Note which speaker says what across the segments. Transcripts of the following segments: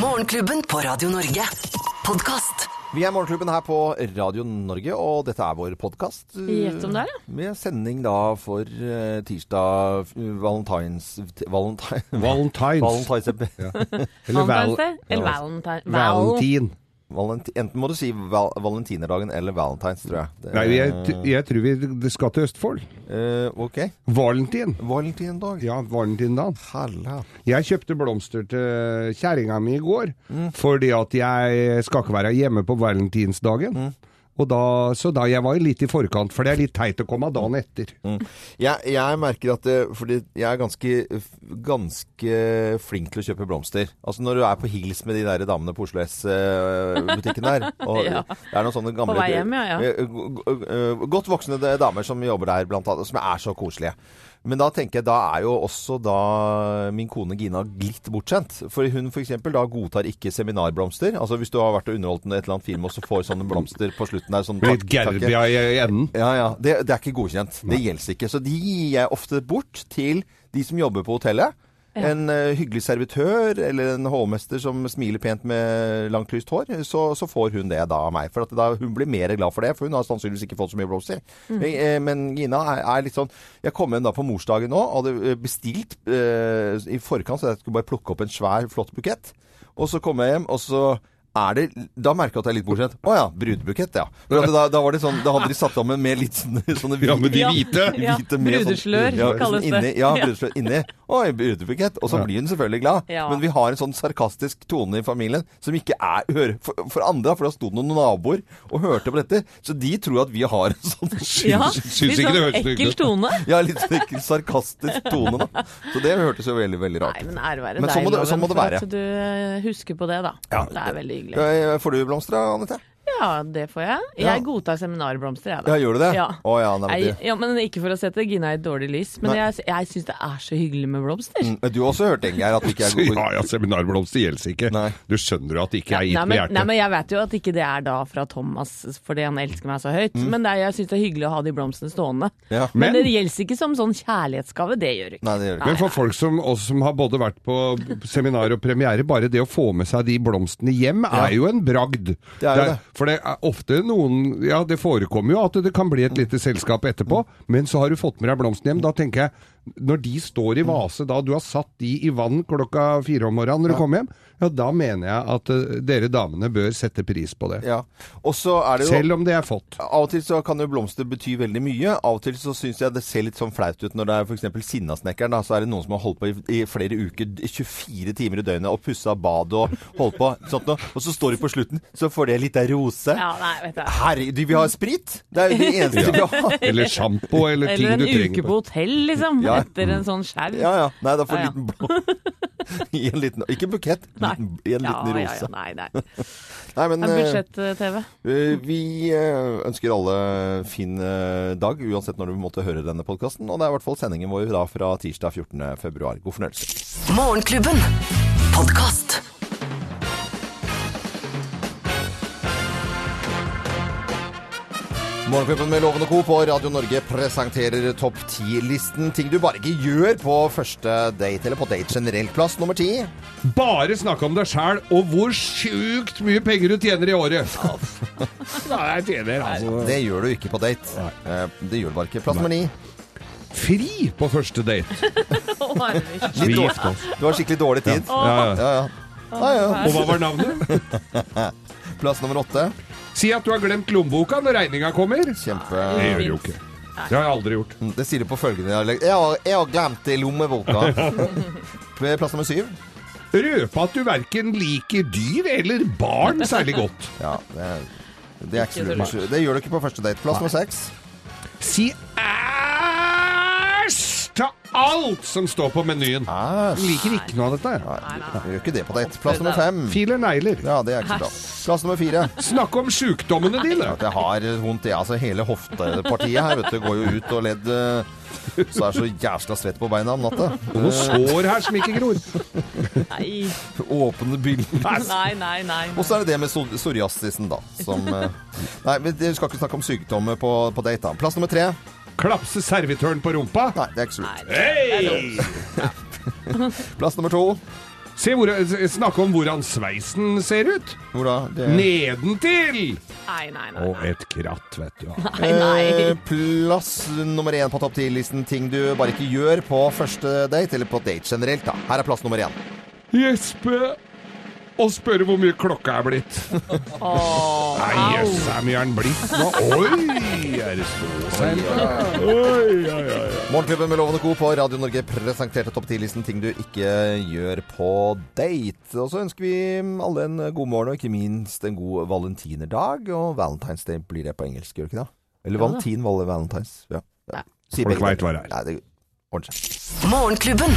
Speaker 1: Morgenklubben på Radio Norge. Podkast.
Speaker 2: Vi er Morgenklubben her på Radio Norge, og dette er vår podkast.
Speaker 3: Gjett om det er, ja.
Speaker 2: Med sending da for eh, tirsdag f- Valentines t- Valentine,
Speaker 4: Valentines.
Speaker 2: Valentines
Speaker 4: Eller val
Speaker 3: Valentine's Day? Eller
Speaker 2: Ja.
Speaker 3: Valentine. Val-
Speaker 4: Valentin.
Speaker 2: Valent- Enten må du si val valentinerdagen eller valentines, tror jeg. Det-
Speaker 4: Nei, jeg, t- jeg tror vi d- skal til Østfold.
Speaker 2: Eh, ok.
Speaker 4: Valentin.
Speaker 2: Valentindag.
Speaker 4: Ja, valentindagen.
Speaker 2: Halla.
Speaker 4: Jeg kjøpte blomster til kjerringa mi i går,
Speaker 2: Mm.
Speaker 4: fordi at jeg skal ikke være hjemme på valentinsdagen.
Speaker 2: Mm.
Speaker 4: Og da, så da jeg var litt i forkant, for det er litt teit å komme dagen etter.
Speaker 2: Mm. Jeg, jeg merker at det, Fordi jeg er ganske, ganske flink til å kjøpe blomster. Altså Når du er på hils med de der damene på Oslo S-butikken der og
Speaker 3: Ja.
Speaker 2: Det er noen sånne gamle
Speaker 3: På vei hjem, ja, ja.
Speaker 2: eh, go- go- eh, Godt voksne de- damer som jobber der, blant annet, som er så koselige. Men da tenker jeg, da er jo også da min kone Gina litt bortskjemt. For hun f.eks. da godtar ikke seminarblomster. Altså hvis du har vært og underholdt med et eller annet film og så får sånne blomster på slutten der sånn
Speaker 4: Litt
Speaker 2: takk- takke.
Speaker 4: gerbia i enden.
Speaker 2: Ja, ja. Det, det er ikke godkjent. Det gjelder ikke. Så de gir jeg ofte bort til de som jobber på hotellet. En eh, hyggelig servitør eller en hovmester som smiler pent med langt, lyst hår. Så, så får hun det da av meg. For at da, hun blir mer glad for det, for hun har sannsynligvis ikke fått så mye blomster. Men, eh, men Gina er, er litt sånn Jeg kom hjem da på morsdagen nå og hadde eh, bestilt eh, i forkant, så jeg skulle bare plukke opp en svær, flott bukett. Og så kom jeg hjem, og så er det, da merker jeg at jeg er litt bortskjemt. Å ja, brudebukett, ja. For at da, da, var det sånn, da hadde de satt sammen med litt sånne, sånne
Speaker 4: Ja, men de
Speaker 3: Ja.
Speaker 4: hvite.
Speaker 3: Ja,
Speaker 2: hvite med sånn-
Speaker 3: brudeslør
Speaker 2: ja,
Speaker 3: kalles
Speaker 2: sånn inni,
Speaker 3: det.
Speaker 2: Ja,
Speaker 3: Ja.
Speaker 2: brudeslør inni. Oi, brudebukett. Og så blir hun selvfølgelig glad.
Speaker 3: Ja.
Speaker 2: Men vi har en sånn sarkastisk tone i familien som ikke er hører for, for andre. For da sto det noen naboer og hørte på dette. Så de tror at vi har en sånn
Speaker 3: Ja,
Speaker 4: Syns- syns
Speaker 3: litt
Speaker 4: ikke det
Speaker 3: sånn
Speaker 4: høres stygt
Speaker 3: ekkel
Speaker 4: ut.
Speaker 3: tone.
Speaker 2: ja, litt sånn sarkastisk tone, da. Så det hørtes jo veldig, veldig
Speaker 3: Nei,
Speaker 2: rart ut.
Speaker 3: men ære være
Speaker 2: Men
Speaker 3: deg,
Speaker 2: sånn må det- sånn må det
Speaker 3: for
Speaker 2: være.
Speaker 3: at du eh, husker på det, da. det er veldig hyggelig.
Speaker 2: Ja, Eh, Får du blomster, da, Anette?
Speaker 3: Ja, det får jeg.
Speaker 2: Ja.
Speaker 3: Jeg godtar seminarblomster, jeg, da.
Speaker 2: Ja, gjør du det?
Speaker 3: Ja.
Speaker 2: Å, ja, nei, men
Speaker 3: Nei,
Speaker 2: det-
Speaker 3: ja, men ikke for å sette Gina i et dårlig lys, men
Speaker 2: Nei.
Speaker 3: jeg, jeg syns det er så hyggelig med blomster.
Speaker 2: Men Mm, Du har også hørt, Ingeir, at vi ikke er
Speaker 4: Så
Speaker 2: gode
Speaker 4: ja, ja, seminarblomster gjelder ikke.
Speaker 2: Nei.
Speaker 4: Du skjønner jo at det ikke er
Speaker 3: nei,
Speaker 4: gitt med
Speaker 3: men, nei,
Speaker 4: hjertet.
Speaker 3: men jeg vet jo at ikke det er da fra Thomas fordi han elsker meg så høyt, men det er, jeg syns det er hyggelig å ha de blomstene stående.
Speaker 2: Mm. Ja.
Speaker 3: Men,
Speaker 4: Men-
Speaker 3: det gjelder ikke som sånn kjærlighetsgave, det gjør ikke.
Speaker 2: Nei, det gjør det ikke.
Speaker 4: Men for folk som oss som har både vært på seminar og premiere, bare det å få med seg de blomstene hjem er jo en bragd.
Speaker 2: Det er jo det.
Speaker 4: For det er ofte noen Ja, det forekommer jo at det kan bli et lite selskap etterpå, men så har du fått med deg blomstene hjem. Da tenker jeg, når de står i vase, da du har satt de i vann klokka fire om morgenen når du kommer hjem, ja, da mener jeg at eh, dere damene bør sette pris på det.
Speaker 2: Ja. Og så er det jo
Speaker 4: Selv om det er fått.
Speaker 2: Av og til så kan jo blomster bety veldig mye. Av og til så syns jeg det ser litt sånn flaut ut når det er f.eks. Sinnasnekkeren. Da, så er det noen som har holdt på i, i flere uker, d- 24 timer i døgnet, og pussa badet og holdt på. Sånt noe. Og så står de på slutten, så får de litt ei rose.
Speaker 3: Ja, nei, vet du.
Speaker 2: Herregud, vi har sprit! Det er jo det eneste vi har.
Speaker 4: Eller sjampo, eller ting
Speaker 3: Eller
Speaker 4: du
Speaker 3: en uke
Speaker 4: trenger.
Speaker 3: på hotell, liksom,
Speaker 2: Ja.
Speaker 3: etter en sånn skjerv.
Speaker 2: Ja ja. Nei, da får
Speaker 3: Ja, ja.
Speaker 2: en liten blå I en liten, Ikke bukett,
Speaker 3: Nei.
Speaker 2: liten, i en liten
Speaker 3: ja, Ja,
Speaker 2: rose.
Speaker 3: ja, nei, nei.
Speaker 2: Nei, men
Speaker 3: Det er
Speaker 2: eh,
Speaker 3: budsjett-TV.
Speaker 2: Eh, Vi eh, ønsker alle fin eh, dag, uansett når du måtte høre denne podkasten. Og det er i hvert fall sendingen vår da fra tirsdag 14. februar. God fornøyelse.
Speaker 1: Morgenklubben. Podkast.
Speaker 2: Morgenklubben med Loven og Co. på Radio Norge presenterer Topp 10-listen. Ting du bare ikke gjør på første date, eller på date generelt. Plass nummer ti.
Speaker 4: Bare snakke om deg sjæl og hvor sjukt mye penger du tjener i året. Nei, jeg tjener altså
Speaker 2: Det gjør du ikke på date. Eh, Det gjør du bare ikke. Plass nummer ni.
Speaker 4: Fri på første date.
Speaker 3: Å, herregud.
Speaker 4: Vi
Speaker 2: Litt dårlig.
Speaker 4: gifter oss.
Speaker 2: Du har skikkelig dårlig tid.
Speaker 4: Ja, ja.
Speaker 2: Ja, ja. Ja, ja.
Speaker 4: Og hva var navnet?
Speaker 2: Plass nummer åtte.
Speaker 4: Si at du har glemt lommeboka når regninga kommer.
Speaker 2: Kjempe...
Speaker 4: Det gjør du jo ikke. Det har jeg aldri gjort.
Speaker 2: Det sier du på følgende dialekt. Jeg har, jeg har glemt det i lommeboka. Plass nummer syv.
Speaker 4: Røpe at du verken liker dyr eller barn særlig godt.
Speaker 2: Ja, det, er- det, er ikke
Speaker 3: Ikke så
Speaker 2: lurt. det gjør du ikke på første date. Plass nummer seks.
Speaker 4: Si æsj til alt som står på menyen.
Speaker 2: Æsj.
Speaker 4: Liker ikke noe av dette. jeg.
Speaker 2: Du gjør ikke det på date. Plass nummer fem.
Speaker 4: Filer negler.
Speaker 2: Ja, det er ikke så bra. Plass nummer fire.
Speaker 4: Snakke om sjukdommene dine.
Speaker 2: At jeg har vondt i altså hele hoftepartiet her, vet du. Går jo ut og ledd eh, Så er jeg så jævla svett på beina om natta.
Speaker 4: Og noen sår her som ikke gror.
Speaker 3: Nei,
Speaker 2: Åpne bilder.
Speaker 3: nei, nei. nei.
Speaker 2: Og så er det det med psor- psoriasisen, da. Som eh, Nei, men du skal ikke snakke om sykdommer på, på date, da. Plass nummer tre.
Speaker 4: Klapse servitøren på rumpa.
Speaker 2: Nei, det er ikke så lurt.
Speaker 3: Nei, det er dumt.
Speaker 2: Plass nummer to.
Speaker 4: Se hvor, s- snakke om hvordan sveisen ser ut.
Speaker 2: Hvor da? Det
Speaker 4: Nedentil!
Speaker 3: Nei, nei, nei.
Speaker 4: Og et kratt, vet du.
Speaker 3: nei, nei.
Speaker 2: Eh, Plass nummer én på topp ti-listen ting du bare ikke gjør på første date, eller på date generelt. da. Her er plass nummer én.
Speaker 4: Gjespe og spørre hvor mye klokka er blitt.
Speaker 3: Åh,
Speaker 4: Nei,
Speaker 3: au.
Speaker 4: jøss, er mye er den blitt nå? Oi, er det Ståsheim? Oi, oi, oi.
Speaker 2: Morgenklubben med Lovende Co. på Radio Norge presenterte topp ti-listen ting du ikke gjør på date. Og så ønsker vi alle en god morgen, og ikke minst en god valentinerdag. Og Valentine's Day blir det på engelsk, gjør det ikke det? Eller
Speaker 3: Ja da.
Speaker 2: Valentin, Valle, Valentine's. Ja.
Speaker 3: Nei.
Speaker 2: Sier
Speaker 4: Folk
Speaker 2: begge
Speaker 4: vet
Speaker 2: deler.
Speaker 4: hva det er.
Speaker 2: Nei, det ordner seg.
Speaker 1: Morgenklubben.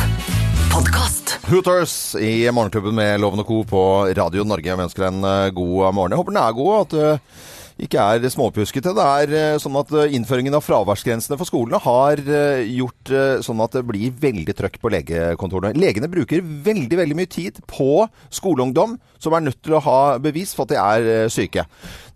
Speaker 1: Podkast.
Speaker 2: Hooters i Morgenklubben med Loven og Co. på Radio Norge. Vi ønsker deg en eh, god morgen. Jeg håper den er god, og at eh, det ikke er småpjuskete. Det er eh, sånn at eh, innføringen av fraværsgrensene for skolene har eh, gjort eh, sånn at det blir veldig trøkk på legekontorene. Legene bruker veldig, veldig mye tid på skoleungdom som er nødt til å ha bevis for at de er eh, syke.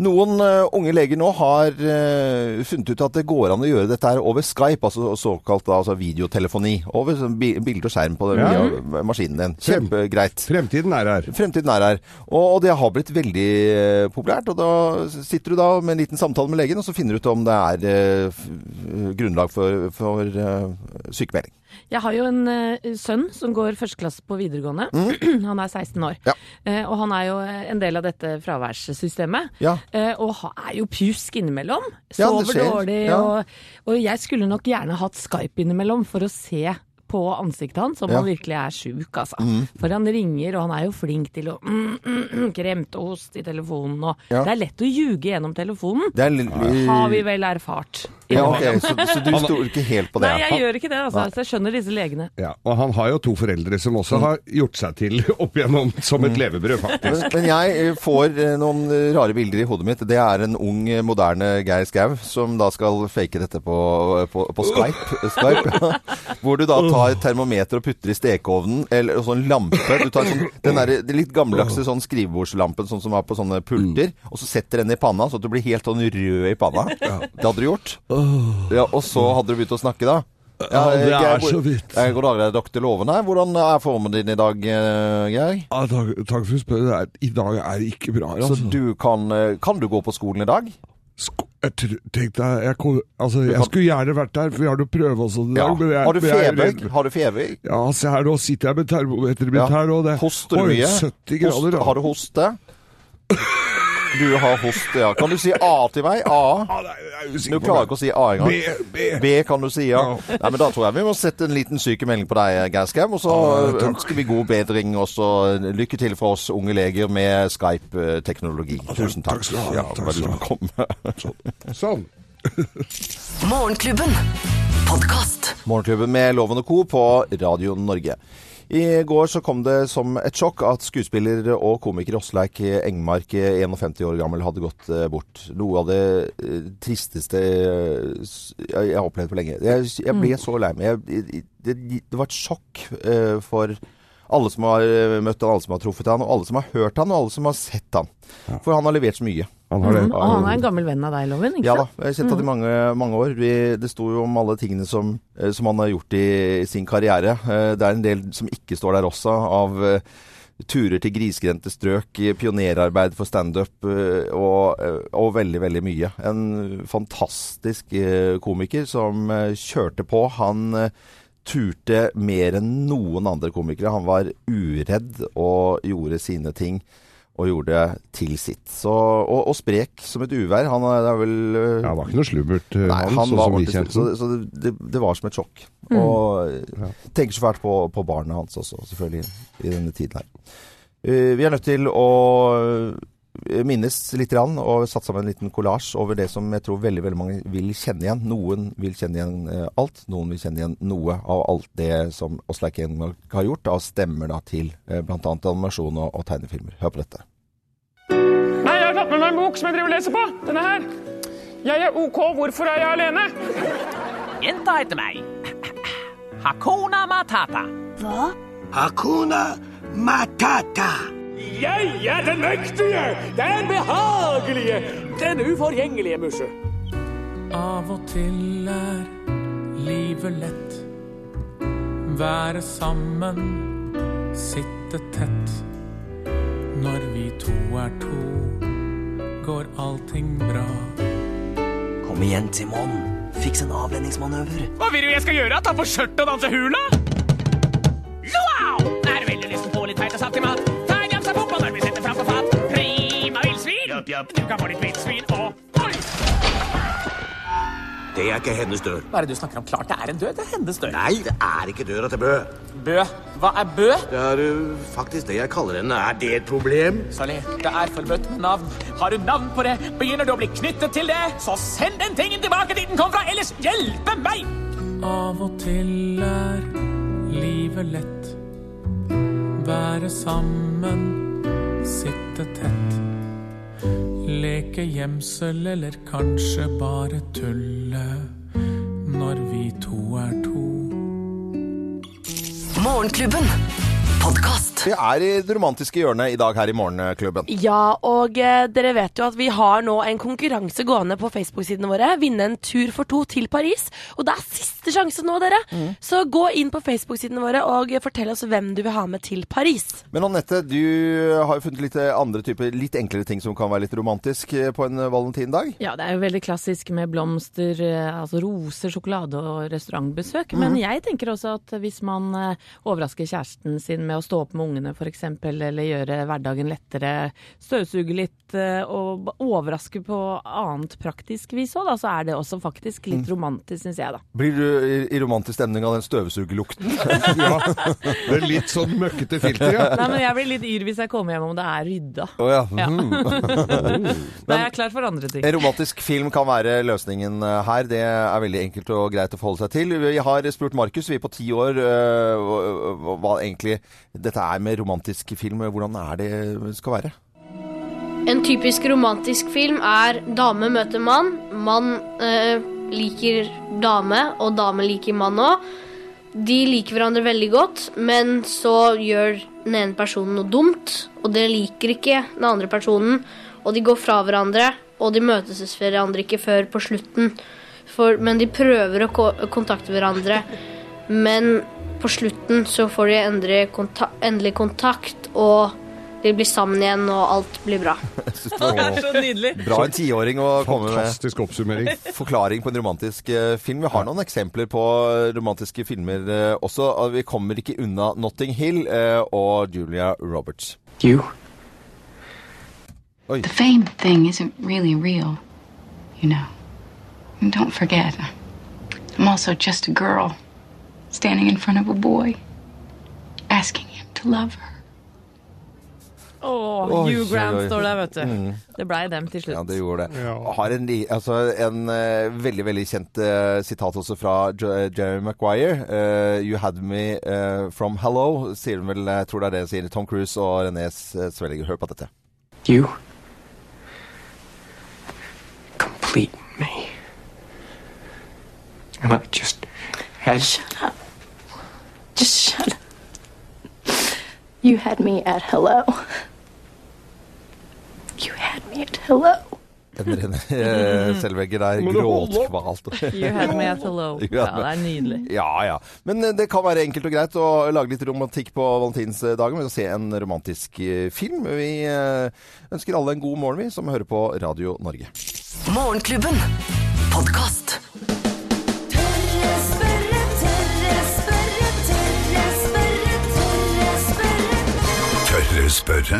Speaker 2: Noen eh, unge leger nå har eh, funnet ut at det går an å gjøre dette her over Skype, altså såkalt da, altså videotelefoni. Over sånn bi- bilde og skjerm på
Speaker 4: Ja.
Speaker 2: via maskinen din. Kjempegreit.
Speaker 4: Fremtiden er her.
Speaker 2: Fremtiden er her. Og, og det har blitt veldig eh, populært. Og da sitter du da med en liten samtale med legen, og så finner du ut om det er eh, f- eh, grunnlag for, for eh, sykemelding.
Speaker 3: Jeg har jo en eh, sønn som går førsteklasse på videregående. han er 16 år.
Speaker 2: Mm. Ja.
Speaker 3: Eh, og han er jo en del av dette fraværssystemet.
Speaker 2: Ja.
Speaker 3: Eh, og ha- er jo pjusk innimellom.
Speaker 2: Ja,
Speaker 3: Sover
Speaker 2: det skjer.
Speaker 3: dårlig.
Speaker 2: Ja.
Speaker 3: Og, og jeg skulle nok gjerne hatt Skype innimellom for å se på ansiktet hans om
Speaker 2: Ja. Mm.
Speaker 3: han virkelig er sjuk, altså. For han ringer, og han er jo flink til å mm, mm, mm, kremte og hoste i telefonen. Og
Speaker 2: Ja. Mm.
Speaker 3: det er lett å ljuge gjennom telefonen.
Speaker 2: Det er litt
Speaker 3: Har vi vel erfart.
Speaker 2: ja, ok, så, så du stoler ikke helt på det?
Speaker 3: Nei, jeg gjør ikke det, altså. Så jeg skjønner disse legene.
Speaker 4: Ja, og han har jo to foreldre som også har gjort seg til opp igjennom som et levebrød, faktisk.
Speaker 2: Men, men jeg eh, får eh, noen eh, rare bilder i hodet mitt. Det er en ung, eh, moderne Geir Skau som da skal fake dette på, eh, på, på Skype. Skype ja. Hvor du da tar et termometer og putter i stekeovnen, eller og sånn lampe. Du tar sånn, den der, den litt gammeldagse sånn skrivebordslampen sånn som var på sånne pulter,
Speaker 5: Mm.
Speaker 2: og så setter den i panna, så at du blir helt sånn rød i panna. Det hadde du gjort. Ja, og så hadde du begynt å snakke, da.
Speaker 5: Ja, det
Speaker 2: eh, Geir,
Speaker 5: er så
Speaker 2: hvor-
Speaker 5: vidt.
Speaker 2: Eh, God dag, det er doktor Loven her. Hvordan er formen din i dag, eh, Geir?
Speaker 5: Ja, Ah, takk, takk for spørsmålet. I dag er det ikke bra.
Speaker 2: Så
Speaker 5: Altså.
Speaker 2: du kan, eh, kan du gå på skolen i dag?
Speaker 5: Sk- jeg tr- Tenk deg, jeg, kom, altså, jeg skulle gjerne vært der, for vi har noen prøve og sånn i dag. men jeg-
Speaker 2: Har du
Speaker 5: men jeg er
Speaker 2: feber?
Speaker 5: redd.
Speaker 2: Har du feber?
Speaker 5: Ja, se her, nå sitter jeg med termometeret mitt
Speaker 2: Ja.
Speaker 5: her, og det
Speaker 2: Hoster du
Speaker 5: Oi,
Speaker 2: mye?
Speaker 5: 70 grader.
Speaker 2: Host- Har du hoste? Du har hoste, ja. Kan du si A til meg? A?
Speaker 5: Ja, nei, jeg er
Speaker 2: Du
Speaker 5: usikker på
Speaker 2: klarer ikke å si A engang.
Speaker 5: det. B, B.
Speaker 2: B kan du si, ja. Nei, men Da tror jeg vi må sette en liten sykemelding på deg, Geir Skau.
Speaker 5: Ja,
Speaker 2: Og så
Speaker 5: takk.
Speaker 2: ønsker vi god bedring, og så lykke til for oss unge leger med Skype-teknologi. Tusen takk.
Speaker 5: takk skal du ha.
Speaker 2: Ja,
Speaker 5: Takk
Speaker 2: vær
Speaker 5: skal du ha.
Speaker 2: velkommen.
Speaker 4: Sånn.
Speaker 1: Morgenklubben. Podkast.
Speaker 2: Morgenklubben med Loven og Co. på Radio Norge. I går så kom det som et sjokk at skuespiller og komiker Åsleik Engmark, 51 år gammel, hadde gått eh, bort. Noe av det eh, tristeste eh, s- jeg jeg har opplevd på lenge. Jeg, jeg
Speaker 3: Mm.
Speaker 2: ble så lei meg. Jeg- jeg- Det, det var et sjokk eh, for alle som har eh, møtt han, alle som har truffet han, og alle som har hørt han, og alle som har sett han. For han har levert så mye.
Speaker 4: Han har det.
Speaker 3: Mm, Og han er en gammel venn av deg, Loven. ikke
Speaker 2: Ja da,
Speaker 3: sant?
Speaker 2: jeg
Speaker 3: Mm.
Speaker 2: har kjent ham i mange, mange år. Vi, det sto jo om alle tingene som, eh, som han har gjort i, i sin karriere. Eh, Det er en del som ikke står der også, av eh, turer til grisgrendte strøk, eh, pionerarbeid for standup eh, og, eh, og veldig, veldig mye. En fantastisk eh, komiker som eh, kjørte på. Han eh, turte mer enn noen andre komikere. Han var uredd og gjorde sine ting. Og gjorde til sitt. Så, og, og sprek som et uvær. Han er, det er vel eh,
Speaker 4: Ja, det var ikke noe slubbert, eh,
Speaker 2: Nei,
Speaker 4: han,
Speaker 2: han
Speaker 4: sånn
Speaker 2: var
Speaker 4: som vi
Speaker 2: ordentlig-
Speaker 4: kjente
Speaker 2: så,
Speaker 4: den.
Speaker 2: så det, det, det var som et sjokk. Og eh,
Speaker 4: Ja.
Speaker 2: tenker så fælt på, på barna hans også, selvfølgelig, i denne tiden her. Eh, vi er nødt til å eh, minnes litt grann, og satt sammen en liten kollasj over det som jeg tror veldig veldig mange vil kjenne igjen. Noen vil kjenne igjen eh, alt, noen vil kjenne igjen noe av alt det som Åsleik Enmark har gjort, av stemmer da til eh, blant annet animasjon og, og tegnefilmer. Hør på dette.
Speaker 6: Nei, jeg har tatt med meg en bok som jeg driver og leser på. Denne her. Jeg er OK, hvorfor er jeg alene?
Speaker 7: Gjenta etter meg. Hakuna matata.
Speaker 6: Jeg er den mektige, den behagelige, den uforgjengelige musje.
Speaker 8: Av og til er livet lett. Være sammen, sitte knyttet tett. Når vi to er to, går allting bra.
Speaker 9: Kom igjen, Timon. Fiks en avledningsmanøver.
Speaker 7: Hva vil du jeg skal gjøre? Ta på skjørtet og danse hula? Wow! Er du veldig lysten på litt feit og saftig mat? Ta en jafsa på når vi setter fram på fat. Prima villsvin! Du kan få litt villsvin og Oi!
Speaker 9: Det er ikke hennes dør.
Speaker 7: Hva er det du snakker om? Klart det er en død. Det er hennes død.
Speaker 9: Nei, det er ikke døra til Bø.
Speaker 7: Bø. Hva er bø?
Speaker 9: Det er ø, faktisk det jeg kaller henne. Er det et problem?
Speaker 7: Sally, det er forbudt med navn. Har du navn på det, begynner du å bli knyttet til det, så send den tingen tilbake dit den kom fra, ellers hjelpe meg!
Speaker 8: Av og til er livet lett. Være sammen, sitte tett. Leke gjemsel eller kanskje bare tulle. Når vi to er to.
Speaker 1: Morgenklubben. Podkast.
Speaker 2: Vi er i det romantiske hjørnet i dag her i Morgenklubben.
Speaker 10: Ja, og eh, dere vet jo at vi har nå en konkurranse gående på Facebook-sidene våre. Vinne en tur for to til Paris. Og det er siste sjanse nå, dere.
Speaker 2: Mm.
Speaker 10: Så gå inn på Facebook-sidene våre og eh, fortell oss hvem du vil ha med til Paris.
Speaker 2: Men Anette, du har jo funnet litt eh, andre typer, litt enklere ting som kan være litt romantisk eh, på en valentindag.
Speaker 3: Ja, det er jo veldig klassisk med blomster, eh, altså roser, sjokolade og restaurantbesøk.
Speaker 2: Mhm.
Speaker 3: Men jeg tenker også at hvis man eh, overrasker kjæresten sin med å stå opp med ungene f.eks., eller gjøre hverdagen lettere, støvsuge litt eh, og ba- overraske på annet praktisk vis òg, da, så er det også faktisk litt
Speaker 2: Mm.
Speaker 3: romantisk, syns jeg, da.
Speaker 2: Blir du i- i romantisk stemning av den støvsugerlukten?
Speaker 4: Ja. Det er litt sånn møkkete filter, ja.
Speaker 3: Nei, men jeg blir litt yr hvis jeg kommer hjem om det er rydda.
Speaker 2: Å ja.
Speaker 3: Ja. Da er jeg klar for andre ting.
Speaker 2: En romantisk film kan være løsningen eh, her. Det er veldig enkelt og greit å forholde seg til. Vi har spurt Markus, vi er på ti år, eh, hva- hva hva egentlig dette er med romantisk film. Hvordan er det skal være?
Speaker 11: En typisk romantisk film er dame møter mann. Mann eh, liker dame, og dame liker mann òg. De liker hverandre veldig godt, men så gjør den ene personen noe dumt, og det liker ikke den andre personen, og de går fra hverandre, og de møtes hverandre ikke før på slutten. For, men de prøver å ko kontakte hverandre, men på slutten så får de endre konta endelig kontakt, og de blir sammen igjen, og alt blir bra.
Speaker 2: Jeg synes det var
Speaker 3: Så nydelig.
Speaker 2: Bra en tiåring å komme med
Speaker 4: Fantastisk oppsummering.
Speaker 2: forklaring på en romantisk eh, film. Vi har noen eksempler på romantiske filmer eh, også. og Vi kommer ikke unna Notting Hill eh, og Julia Roberts.
Speaker 7: You.
Speaker 2: Oi.
Speaker 11: fame thing isn't really real, you know. And don't forget, I'm also just a girl standing in front of a boy, asking him to love her.
Speaker 3: Å,
Speaker 2: Oi,
Speaker 3: Hugh Grant
Speaker 2: oi, Mm. oi.
Speaker 3: står der, vet du. Det blei dem til slutt.
Speaker 2: Ja, det gjorde det. Har en, li- altså, en eh, veldig veldig kjent eh, sitat også fra Jo- eh, Jerry Maguire. eh, you had me eh, from hello, sier hun vel. eh, Jeg tror det er det hun sier. Tom Cruise og René Svellinger. Hør på dette.
Speaker 7: You. Complete me. And I just had...
Speaker 11: You had me at hello. You had me at hello.
Speaker 2: En René eh, Selvegger der
Speaker 4: Må du holde opp?
Speaker 2: gråtkvalt.
Speaker 3: You had me at hello. Ja, det er nydelig.
Speaker 2: Ja, ja. Men eh, det kan være enkelt og greit å lage litt romantikk på valentinsdagen ved å se en romantisk eh, film. Vi eh, ønsker alle en god morgen, vi, som hører på Radio Norge.
Speaker 1: Morgenklubben. Podkast.
Speaker 9: Tørre spørre?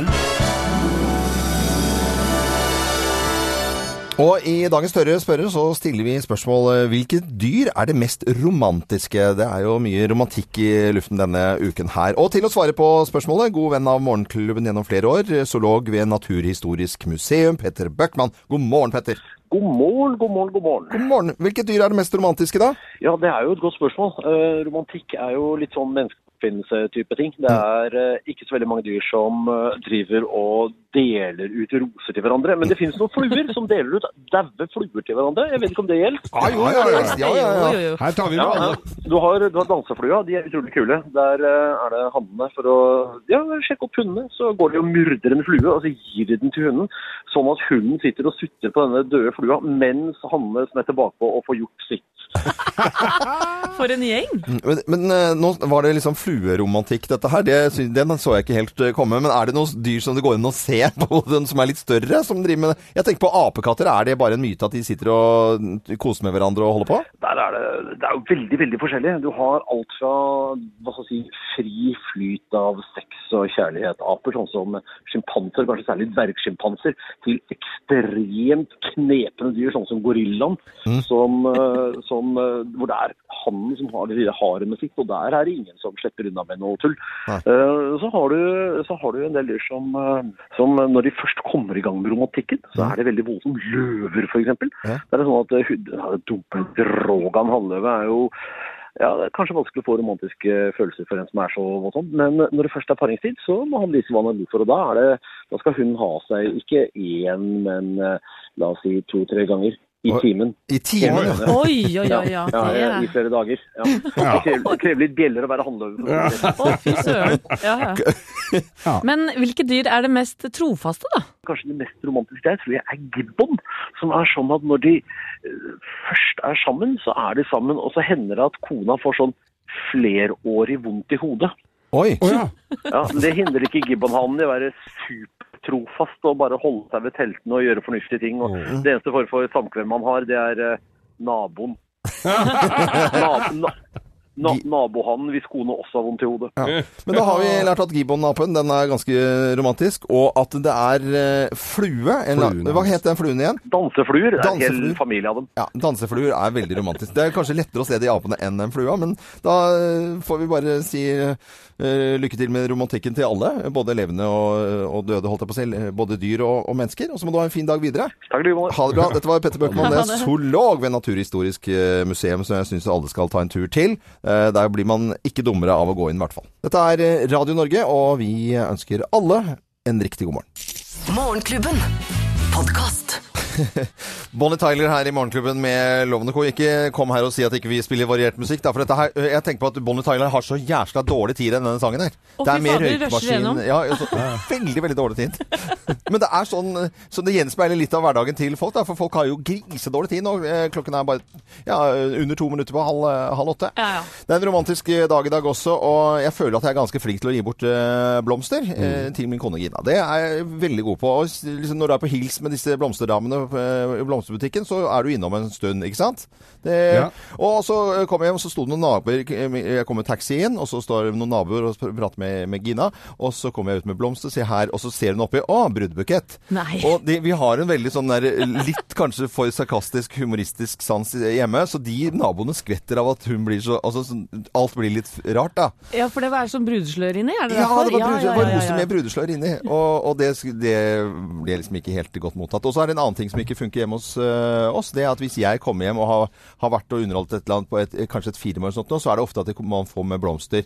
Speaker 2: Og i dagens større spørrer så stiller vi spørsmål eh, hvilket dyr er det mest romantiske? Det er jo mye romantikk i luften denne uken her. Og til å svare på spørsmålet, god venn av Morgenklubben gjennom flere år, eh, zoolog ved Naturhistorisk museum, Petter Bøckmann. God morgen, Petter.
Speaker 12: God morgen, god morgen, god morgen.
Speaker 2: God morgen. Hvilket dyr er det mest romantiske, da?
Speaker 12: Ja, det er jo et godt spørsmål. Eh, romantikk er jo litt sånn menneskeoppfinnelse-type ting. Det er eh, ikke så veldig mange dyr som eh, driver og deler ut roser til hverandre. Men det finnes noen fluer som deler ut daue fluer til hverandre. Jeg vet ikke om det gjelder.
Speaker 4: Ah, jo, ja, ja, ja.
Speaker 2: Ja, ja, ja.
Speaker 3: Jo, jo, jo.
Speaker 4: Her tar vi med
Speaker 12: Ja,
Speaker 4: alle.
Speaker 12: ja. du, har, du har danseflua, de er utrolig kule. Der eh, er det hannene for å ja, sjekke opp hundene. Så går de og murder en flue, og så gir de den til hunden. Sånn at hunden sitter og sutter på denne døde flua mens hannene smetter bakpå og får gjort sitt.
Speaker 3: For en gjeng!
Speaker 2: Men, men eh, nå var det liksom flueromantikk, dette her. Det, sy- den så jeg ikke helt eh, komme. Men er det noen dyr som det går an å se på, den som er litt større, som driver med det? Jeg tenker på apekatter. Er det bare en myte at de sitter og mm, koser med hverandre og holder på?
Speaker 12: Der er det, det er jo veldig veldig forskjellig. Du har alt fra hva skal jeg si, fri flyt av sex og kjærlighet. Aper sånn som sjimpanser, kanskje særlig dvergsjimpanser, til ekstremt knepne dyr sånn som gorillaen. Som, eh, som, eh, hvor det er hannen som har det lille haremet sitt, og der er det ingen som slipper unna med noe tull. Eh, Så har du, så har du en del dyr som, eh, som eh, når de først kommer i gang med romantikken, så er det veldig voldsomt. Løver, f.eks.
Speaker 2: Ja.
Speaker 12: Det er det sånn at eh, hud- ja, Dumpen Drogan halvløve er jo ja, det er kanskje vanskelig å få romantiske følelser for en som er så voldsom, men når det først er paringstid, så må han vise hva han er god for. Og da, er det, da skal hun ha seg ikke én, men eh, la oss si to-tre ganger i
Speaker 2: Oi.
Speaker 12: timen.
Speaker 2: I timen, ja.
Speaker 3: Oi, oi, oi, ja,
Speaker 12: ja,
Speaker 3: det er-
Speaker 12: I flere dager. Ja. Det krever- det krever litt bjeller å være handløve. for å si det.
Speaker 3: Å, fy søren. Ja, ja. Men hvilke dyr er det mest trofaste, da?
Speaker 12: Kanskje det mest romantiske der tror jeg er gibbon. Som er sånn at når de eh, først er sammen, så er de sammen. Og så hender det at kona får sånn flerårig vondt i hodet.
Speaker 2: Oi!
Speaker 12: Ja, men Det hindrer ikke gibbonhanen i å være supertrofast og bare holde seg ved teltene og gjøre fornuftige ting. Og
Speaker 2: Mm.
Speaker 12: Det eneste form for samkvem man har, det er eh, naboen. Nab na na nabohannen hvis kona også har vondt i hodet.
Speaker 2: Men da har vi lært at gibbonapen den er ganske romantisk, og at det er eh, flue. En, la-
Speaker 12: Fluen, ja.
Speaker 2: hva het den fluen igjen?
Speaker 12: Dansefluer. Det er en hel
Speaker 2: Dansefluer.
Speaker 12: familie av dem.
Speaker 2: Ja, Dansefluer er veldig romantisk. Det er kanskje lettere å se de apene enn den flua, men da eh, får vi bare si eh, lykke til med romantikken til alle. Både levende og, og døde, holdt jeg på å si. eh, Både dyr og, og mennesker. Og så må du ha en fin dag videre.
Speaker 12: Takk, du,
Speaker 2: Ha det bra. Dette var Petter Bøckmann,
Speaker 12: Ha
Speaker 2: det
Speaker 12: det.
Speaker 2: er zoolog ved Naturhistorisk eh, museum, som jeg syns alle skal ta en tur til. Eh, Der blir man ikke dummere av å gå inn, i hvert fall. Dette er eh, Radio Norge, og vi ønsker alle en riktig god morgen.
Speaker 1: Morgenklubben. Podkast.
Speaker 2: Bonnie Tyler her i Morgenklubben med Lovende Co. Ikke kom her og si at ikke vi spiller variert musikk. Da, for dette her, øh, jeg tenker på at Bonnie Tyler har så jævla dårlig tid i denne sangen her.
Speaker 13: Å, fy fader, rusher igjennom.
Speaker 2: ja, altså, Veldig, veldig dårlig tid. Men det er sånn eh, Så det gjenspeiler litt av hverdagen til folk. Da, for folk har jo grisedårlig tid nå. Eh, Klokken er bare ja, øh, under to minutter på halv, øh, halv åtte. Det er en romantisk eh, dag i dag også, og jeg føler at jeg er ganske flink til å gi bort eh, blomster eh, til min kone Gina. Det er jeg veldig god på. Og s- liksom når du er på hils med disse blomsterdamene eh, i blomsterbutikken, så er du innom en stund, ikke sant? Det,
Speaker 4: Ja.
Speaker 2: Og så eh, kom jeg hjem, og så sto det noen naboer Jeg kom med taxi inn, og så står det noen naboer og pr- prater med, med Gina. Og så kommer jeg ut med blomster, sier her, og så ser hun oppi Å, bruddbukett!
Speaker 3: Nei.
Speaker 2: Og de, vi har en veldig sånn der litt kanskje for sarkastisk, humoristisk sans hjemme, så de naboene skvetter av at hun blir så Altså, sånn- alt blir litt rart, da.
Speaker 3: Ja, for det var sånn brudeslør inni, er det
Speaker 2: Ja,
Speaker 3: derfor?
Speaker 2: det var, brudesl-
Speaker 3: ja,
Speaker 2: var roser med brudeslør inni, og, og det, sk- det ble liksom ikke helt godt mottatt. Og så er det en annen ting som ikke funker hjemme hos øh, oss, det er at hvis jeg kommer hjem og har, har vært og underholdt et eller annet på et, kanskje et firma eller sånt, nå, så er det ofte at det, man får med blomster.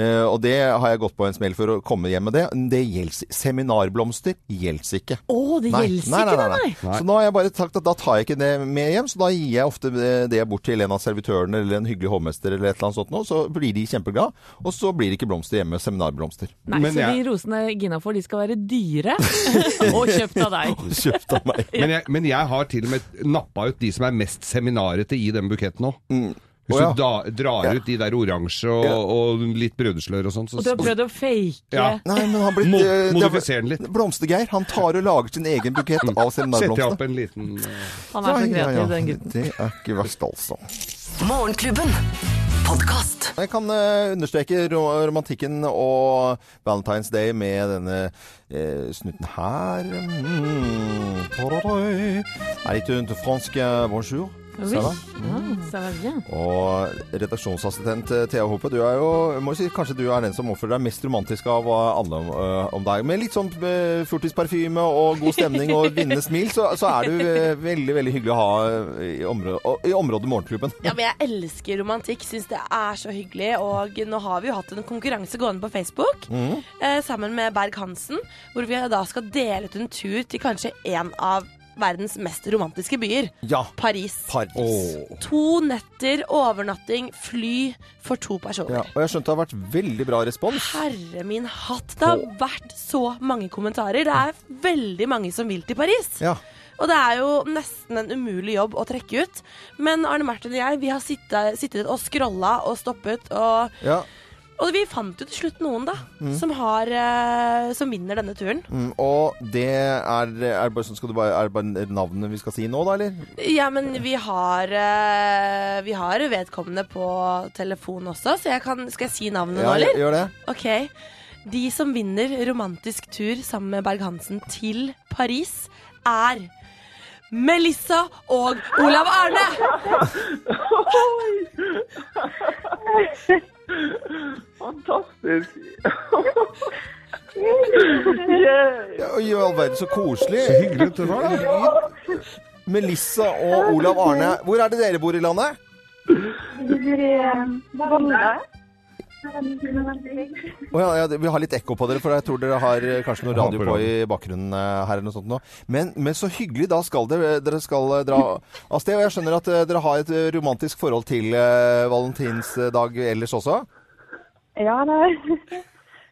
Speaker 2: Eh, og det har jeg gått på en smell for å komme hjem med det. Det gjelder Seminarblomster gjelder ikke.
Speaker 3: Å, det gjelder ikke det, nei.
Speaker 2: Så nå har jeg bare sagt at da tar jeg ikke det med hjem, så da gir jeg ofte det- det bort til en av servitørene eller en hyggelig hovmester eller et eller annet sånt nå, så blir de kjempeglad, og så blir det ikke blomster hjemme, seminarblomster.
Speaker 3: Nei, så de rosene Gina får, de skal være dyre og kjøpt av deg.
Speaker 2: Kjøpt av meg.
Speaker 4: Men jeg, men jeg har til og med nappa ut de som er mest seminarete i den buketten òg. Hvis
Speaker 2: Mm. Å, ja.
Speaker 4: du da, drar ut de der oransje og, og litt brødeslør og sånn, så
Speaker 3: Og du har prøvd å fake
Speaker 4: Ja.
Speaker 2: Nei, men han har blitt
Speaker 4: Mo-
Speaker 2: eh, det har-
Speaker 4: modifiser den litt.
Speaker 2: Blomstergeir. Han tar og lager sin egen bukett av
Speaker 4: setter jeg opp
Speaker 2: seminarblomster.
Speaker 4: en liten
Speaker 3: Han er så kreativ, den gutten.
Speaker 2: Det er ikke verst, altså.
Speaker 1: Morgenklubben. Podkast.
Speaker 2: Jeg kan eh, understreke ro romantikken og Valentine's Day med denne eh, snutten her. Mm. Tadadai. Er ikke hun til fransk eh, bonjour?
Speaker 3: Oui.
Speaker 2: Ser du?
Speaker 3: Ja, ça va bien.
Speaker 2: Og redaksjonsassistent eh, Thea Hope, du er jo, jeg må si, kanskje du er den som oppfører deg mest romantisk av eh, alle om, eh, om deg. Med litt sånn eh, fjortisparfyme og god stemning og vinnende smil, så, så er du eh, veldig, veldig hyggelig å ha eh, i området, i området Morgenklubben.
Speaker 10: Ja, men jeg elsker romantikk. Syns det er så hyggelig. Og nå har vi jo hatt en konkurranse gående på Facebook
Speaker 2: Mhm.
Speaker 10: eh, sammen med Berg-Hansen, hvor vi da skal dele ut en tur til kanskje en av verdens mest romantiske byer.
Speaker 2: Ja.
Speaker 10: Paris.
Speaker 2: Paris.
Speaker 10: To netter, overnatting, fly for to personer.
Speaker 2: Ja, og jeg skjønte det har vært veldig bra respons.
Speaker 10: Herre min hatt, det har vært så mange kommentarer. Det er veldig mange som vil til Paris.
Speaker 2: Ja.
Speaker 10: Og det er jo nesten en umulig jobb å trekke ut. Men Arne Martin og jeg, vi har sittet, sittet og scrolla og stoppet og
Speaker 2: Ja.
Speaker 10: Og vi fant jo til slutt noen, da,
Speaker 2: Mm.
Speaker 10: som, har, eh, som vinner denne turen.
Speaker 2: Mm, og det er, er, bare, sånn- skal du bare, er det bare navnet vi skal si nå, da, eller?
Speaker 10: Ja, men vi har, eh, vi har vedkommende på telefon også, så jeg kan, skal jeg si navnet nå,
Speaker 2: Ja,
Speaker 10: eller?
Speaker 2: gjør det.
Speaker 10: Ok. De som vinner romantisk tur sammen med Berg-Hansen til Paris, er Melissa og Olav Arne!
Speaker 14: Fantastisk.
Speaker 2: Ja, og I all verden, så koselig.
Speaker 4: Så hyggelig det var,
Speaker 2: da. Melissa og Olav Arne, hvor er det dere bor i landet? Å ja, ja, det- vi har litt ekko på dere, for jeg tror dere har eh, kanskje noe radio på i bakgrunnen eh, her eller noe sånt nå. Men, men så hyggelig, da skal dere, dere skal eh, dra av sted. Og jeg skjønner at eh, dere har et eh, romantisk forhold til eh, valentinsdag ellers også?
Speaker 14: Ja da.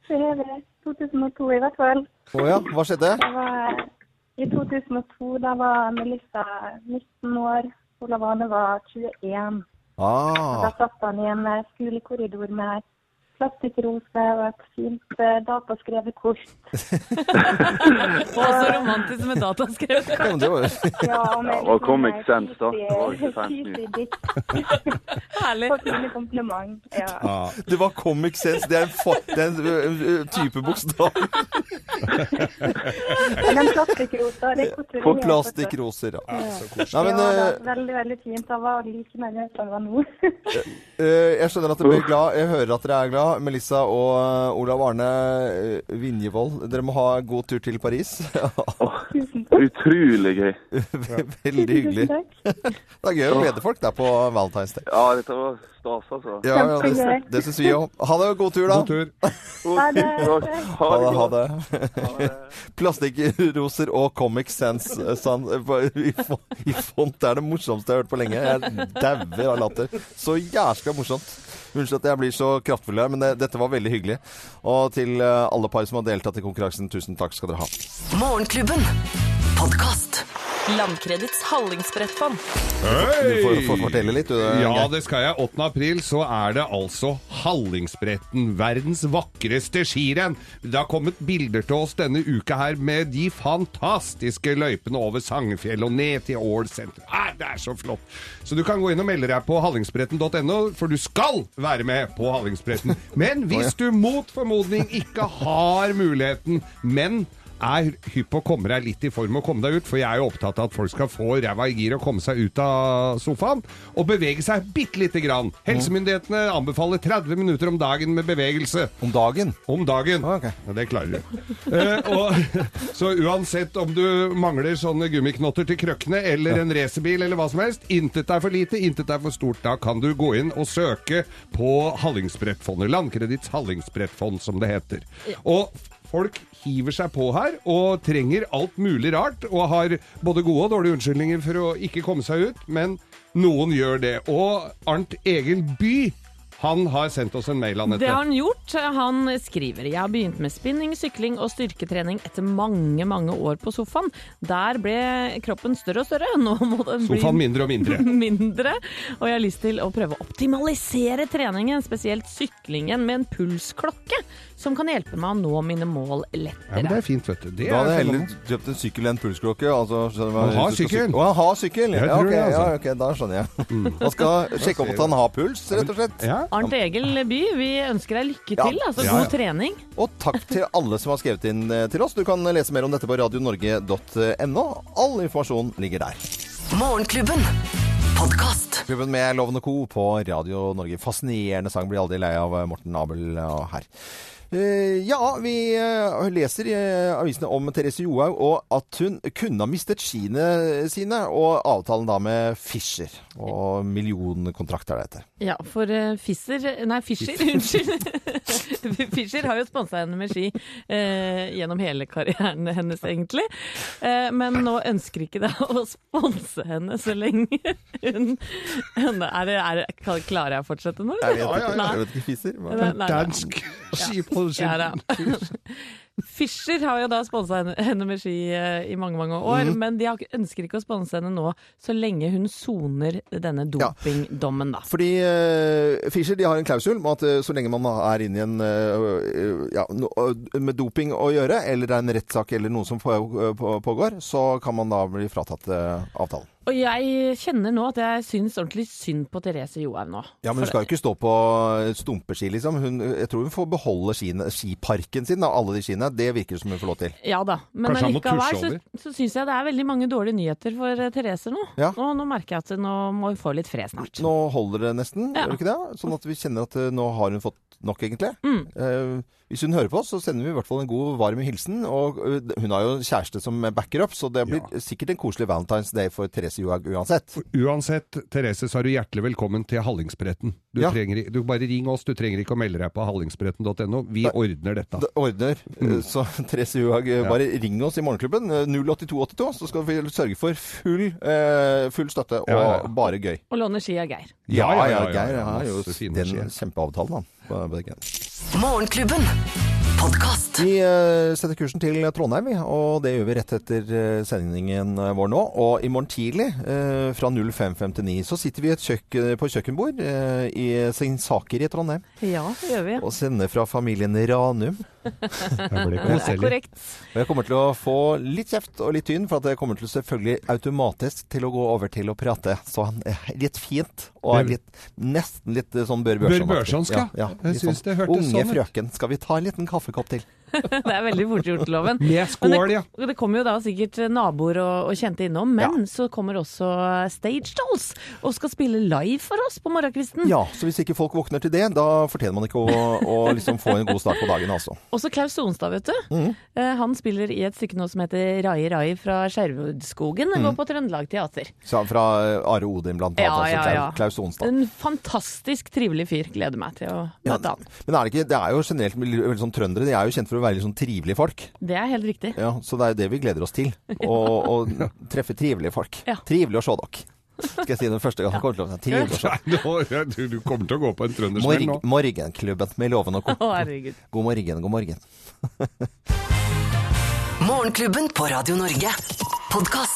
Speaker 14: Det er det. 2002 i hvert fall.
Speaker 2: Å ja, hva skjedde?
Speaker 14: Da var, eh, I 2002 da var Melissa 19 år, Olav Arne var 21. Og Da
Speaker 2: Ah,
Speaker 14: satt han i en eh, skolekorridor med plastikkrose og et fint eh, dataskrevet kort.
Speaker 3: Og så romantisk med dataskrevet
Speaker 2: men det var
Speaker 14: med
Speaker 15: Det var
Speaker 14: litt
Speaker 15: comic
Speaker 14: sånn,
Speaker 15: sense,
Speaker 14: eh,
Speaker 15: da. Det var ikke
Speaker 14: cheesy-
Speaker 15: fancy.
Speaker 14: cheesy dikt. For fine kompliment. Ja.
Speaker 15: Ah.
Speaker 2: Det var Comic Sense. Det er en, fa- det er en ø, ø, type bokstav.
Speaker 14: Men den plastikkrosa, det koster
Speaker 2: På
Speaker 14: mye,
Speaker 2: plastikkroser, ja. Ja, så koselig. Nei, men,
Speaker 14: ja, det
Speaker 2: eh,
Speaker 14: var veldig, veldig fint. Han var like nervøs som han var nå.
Speaker 2: Eh, Jeg skjønner at dere blir glad. Jeg hører at dere er glad. Melissa og eh, Olav Arne eh, Vinjevold, dere må ha god tur til Paris.
Speaker 15: Utrolig gøy.
Speaker 2: Veldig hyggelig. Det er gøy å glede folk der på Valentine's Day.
Speaker 15: Ja, dette var stas, altså.
Speaker 2: Ja, ja, det, det syns vi òg. Ha det, og god tur, da.
Speaker 4: God tur.
Speaker 14: Ha det.
Speaker 2: Ha det. Ha det. Plastikkroser og Comic Sans eh, san- eh, på- i fo- i font er det morsomste jeg har hørt på lenge. Jeg dauer av latter. Så jæskla morsomt. Unnskyld at jeg blir så kraftfull her, men det, dette var veldig hyggelig. Og til eh, alle par som har deltatt i konkurransen, tusen takk skal dere ha.
Speaker 1: Morgenklubben. Podkast.
Speaker 16: Landkredits hallingsbrettfond.
Speaker 2: Du får, får fortelle litt, du. det er
Speaker 4: Ja,
Speaker 2: gøy.
Speaker 4: det skal jeg. 8. april så er det altså Hallingsbretten, verdens vakreste skirenn. Det har kommet bilder til oss denne uka her med de fantastiske løypene over Sangefjell og ned til Ål senter. Ah, det er så flott! Så du kan gå inn og melde deg på hallingsbretten.no, for du skal være med på Hallingsbretten. Men hvis du mot formodning ikke har muligheten, men er hypp på å komme deg litt i form og komme deg ut, for jeg er jo opptatt av at folk skal få ræva i gir og komme seg ut av sofaen og bevege seg bitte lite grann. Helsemyndighetene anbefaler 30 minutter om dagen med bevegelse.
Speaker 2: Om dagen?
Speaker 4: Om dagen. Ja, det klarer du. Eh, og, så uansett om du mangler sånne gummiknotter til krøkkene eller en racerbil eller hva som helst, intet er for lite, intet er for stort, da kan du gå inn og søke på Hallingsbrettfondet. Landkreditts Hallingsbrettfond, som det heter. Og folk hiver seg på her og trenger alt mulig rart, og har både gode og dårlige unnskyldninger for å ikke komme seg ut, men noen gjør det. Og Arnt Egil By, han har sendt oss en mail, Anette.
Speaker 3: Det har han gjort. Han skriver Jeg har begynt med spinning, sykling og styrketrening etter mange, mange år på sofaen. Der ble kroppen større og større. Nå må den bli
Speaker 4: Sofaen mindre og mindre.
Speaker 3: mindre. Og jeg har lyst til å prøve å optimalisere treningen, spesielt syklingen, med en pulsklokke som kan hjelpe meg å nå mine mål
Speaker 4: Ja, men
Speaker 3: lettere.
Speaker 4: det er fint, vet du. Det
Speaker 2: Da hadde
Speaker 4: er sånn
Speaker 2: jeg heller kjøpt en sykkel enn en pulsklokke. Altså, skjønner du hva-
Speaker 4: Han
Speaker 2: hvis
Speaker 4: har
Speaker 2: du skal
Speaker 4: sykkel.
Speaker 2: sykle. Å, han har sykkel?
Speaker 4: Jeg
Speaker 2: Ja,
Speaker 4: tror
Speaker 2: ok,
Speaker 4: det, altså. Mm.
Speaker 2: ja, ok, da skjønner jeg. Man skal sjekke opp at han har puls, rett og slett.
Speaker 3: Arnt Egil By, vi ønsker deg lykke
Speaker 2: Ja.
Speaker 3: til. Altså
Speaker 2: Ja,
Speaker 3: god
Speaker 2: ja.
Speaker 3: trening.
Speaker 2: Og takk til alle som har skrevet inn eh, til oss. Du kan lese mer om dette på radionorge.no. All informasjon ligger der.
Speaker 1: Morgenklubben. Podkast.
Speaker 2: Klubben med Loven og Co. på Radio Norge. Fascinerende sang. Blir aldri lei av eh, Morten Abel eh, her. Eh, Ja, vi eh, leser i eh, avisene om Therese Johaug og at hun kunne ha mistet skiene sine, og avtalen da med Fischer. Og millionkontrakt er det etter.
Speaker 3: Ja, for eh, Fisser Nei, Fischer, unnskyld. Fischer har jo sponsa henne med ski eh, gjennom hele karrieren hennes, egentlig. Eh, men nå ønsker ikke det å sponse henne så lenge hun, hun er, det- er, det- kan- Klarer jeg å fortsette nå?
Speaker 2: Jeg vet ikke,
Speaker 3: Nei.
Speaker 2: jeg vet ikke Fischer.
Speaker 3: Nei, nei, nei.
Speaker 4: Dansk skipå
Speaker 3: Ja, da. Fischer har jo da sponsa henne, henne med ski eh, i mange mange år,
Speaker 2: Mhm.
Speaker 3: men de har, ikke- ønsker ikke å sponse henne nå, så lenge hun soner denne dopingdommen, da.
Speaker 2: Fordi eh, Fischer de har en klausul om at eh, så lenge man er inne i en eh, ja, no, eh, med doping å gjøre, eller det er en rettssak eller noe som på, på, pågår, så kan man da bli fratatt eh, avtalen.
Speaker 3: Og jeg kjenner nå at jeg syns ordentlig synd på Therese Johaug nå.
Speaker 2: Ja, men hun skal jo ikke stå på stumpeski, liksom. Hun, jeg tror hun får beholde skiene, skiparken sin, da, alle de skiene. Det virker det som hun får lov til.
Speaker 3: Ja da, men
Speaker 2: Kanskje han må
Speaker 3: allikevel så,
Speaker 2: tusje
Speaker 3: så syns jeg det er veldig mange dårlige nyheter for eh, Therese nå.
Speaker 2: Ja.
Speaker 3: Og nå merker jeg at nå må hun få litt fred snart.
Speaker 2: Nå holder det nesten, gjør det ikke det? Sånn at vi kjenner at eh, nå har hun fått nok, egentlig. Eh, hvis hun hører på oss, så sender vi i hvert fall en god, varm hilsen. Og eh, hun har jo en kjæreste som backer opp, så det blir sikkert en koselig Valentine's Day for Therese Johaug uansett.
Speaker 4: Uansett, Therese, så er du hjertelig velkommen til Hallingsbretten. Du,
Speaker 2: Ja.
Speaker 4: trenger, i- du bare ring oss, du trenger ikke å melde deg på hallingsbretten.no. Vi ordner dette.
Speaker 2: Det ordner.
Speaker 4: Mm.
Speaker 2: Eh, Så Therese Johaug, eh, bare ring oss i Morgenklubben. eh, 08282, så skal vi sørge for full, eh, full støtte og
Speaker 4: Ja, ja.
Speaker 2: bare gøy.
Speaker 3: Og låne ski av Geir.
Speaker 2: Ja, ja, ja.
Speaker 4: ja,
Speaker 2: Geir
Speaker 4: ja,
Speaker 2: har jo
Speaker 4: masse fine
Speaker 2: den
Speaker 4: skier.
Speaker 2: kjempeavtalen, han. på- på Geir.
Speaker 1: Morgenklubben.
Speaker 2: Vi eh, setter kursen til Trondheim, vi, og det gjør vi rett etter eh, sendingen vår nå. Og i morgen tidlig, eh, fra 05.59, så sitter vi i et kjøkk- på et kjøkkenbord eh, i Singsaker i Trondheim.
Speaker 3: Ja, det gjør vi.
Speaker 2: Og sender fra familien Ranum.
Speaker 3: Det er korrekt.
Speaker 2: Og jeg kommer til å få litt kjeft og litt tynn, for at jeg kommer til selvfølgelig automatisk til å gå over til å prate. Så han er litt fint, og er litt, nesten litt eh, sånn Bør Børson.
Speaker 4: Bør Børson skal. Jeg
Speaker 2: litt
Speaker 4: synes det hørtes sånn
Speaker 2: Unge
Speaker 4: ut.
Speaker 2: frøken, skal vi ta en liten kaffekopp til?
Speaker 3: Det er veldig fort gjort, loven.
Speaker 4: Med skål,
Speaker 3: Men det,
Speaker 4: ja.
Speaker 3: Det kommer jo da sikkert naboer og, og kjente innom, men så kommer også Stage Dolls og skal spille live for oss på morgenkvisten.
Speaker 2: Ja, så hvis ikke folk våkner til det, da fortjener man ikke å, å liksom få en god start på dagen, altså.
Speaker 3: Også Klaus Sonstad, vet du. Eh, Han spiller i et stykke nå som heter Rai Rai fra Skjervudskogen. Det går på Trøndelag Teater.
Speaker 2: Så han fra eh, Are Odin blant annet,
Speaker 3: Ja,
Speaker 2: altså,
Speaker 3: ja,
Speaker 2: Klau-
Speaker 3: ja.
Speaker 2: Klaus Onstad.
Speaker 3: En fantastisk trivelig fyr. Gleder meg til å
Speaker 2: Ja, men er det, ikke, det er jo generelt veldig veldig sånn trøndere, de er jo kjent for å være litt sånn trivelige folk.
Speaker 3: Det er helt riktig.
Speaker 2: Ja, så det er jo det vi gleder oss til, å, å treffe trivelige folk. Trivelig å se dere. Skal jeg si den første gangen? Kommer til å si, trivelig å se.
Speaker 4: Nei, nå- du, du kommer til å gå på en trøndersmell
Speaker 2: Morgen,
Speaker 4: nå.
Speaker 2: morgenklubben med loven og
Speaker 3: Å,
Speaker 2: kort.
Speaker 3: herregud.
Speaker 2: God morgen, god morgen.
Speaker 1: Morgenklubben på Radio Norge. Podkast.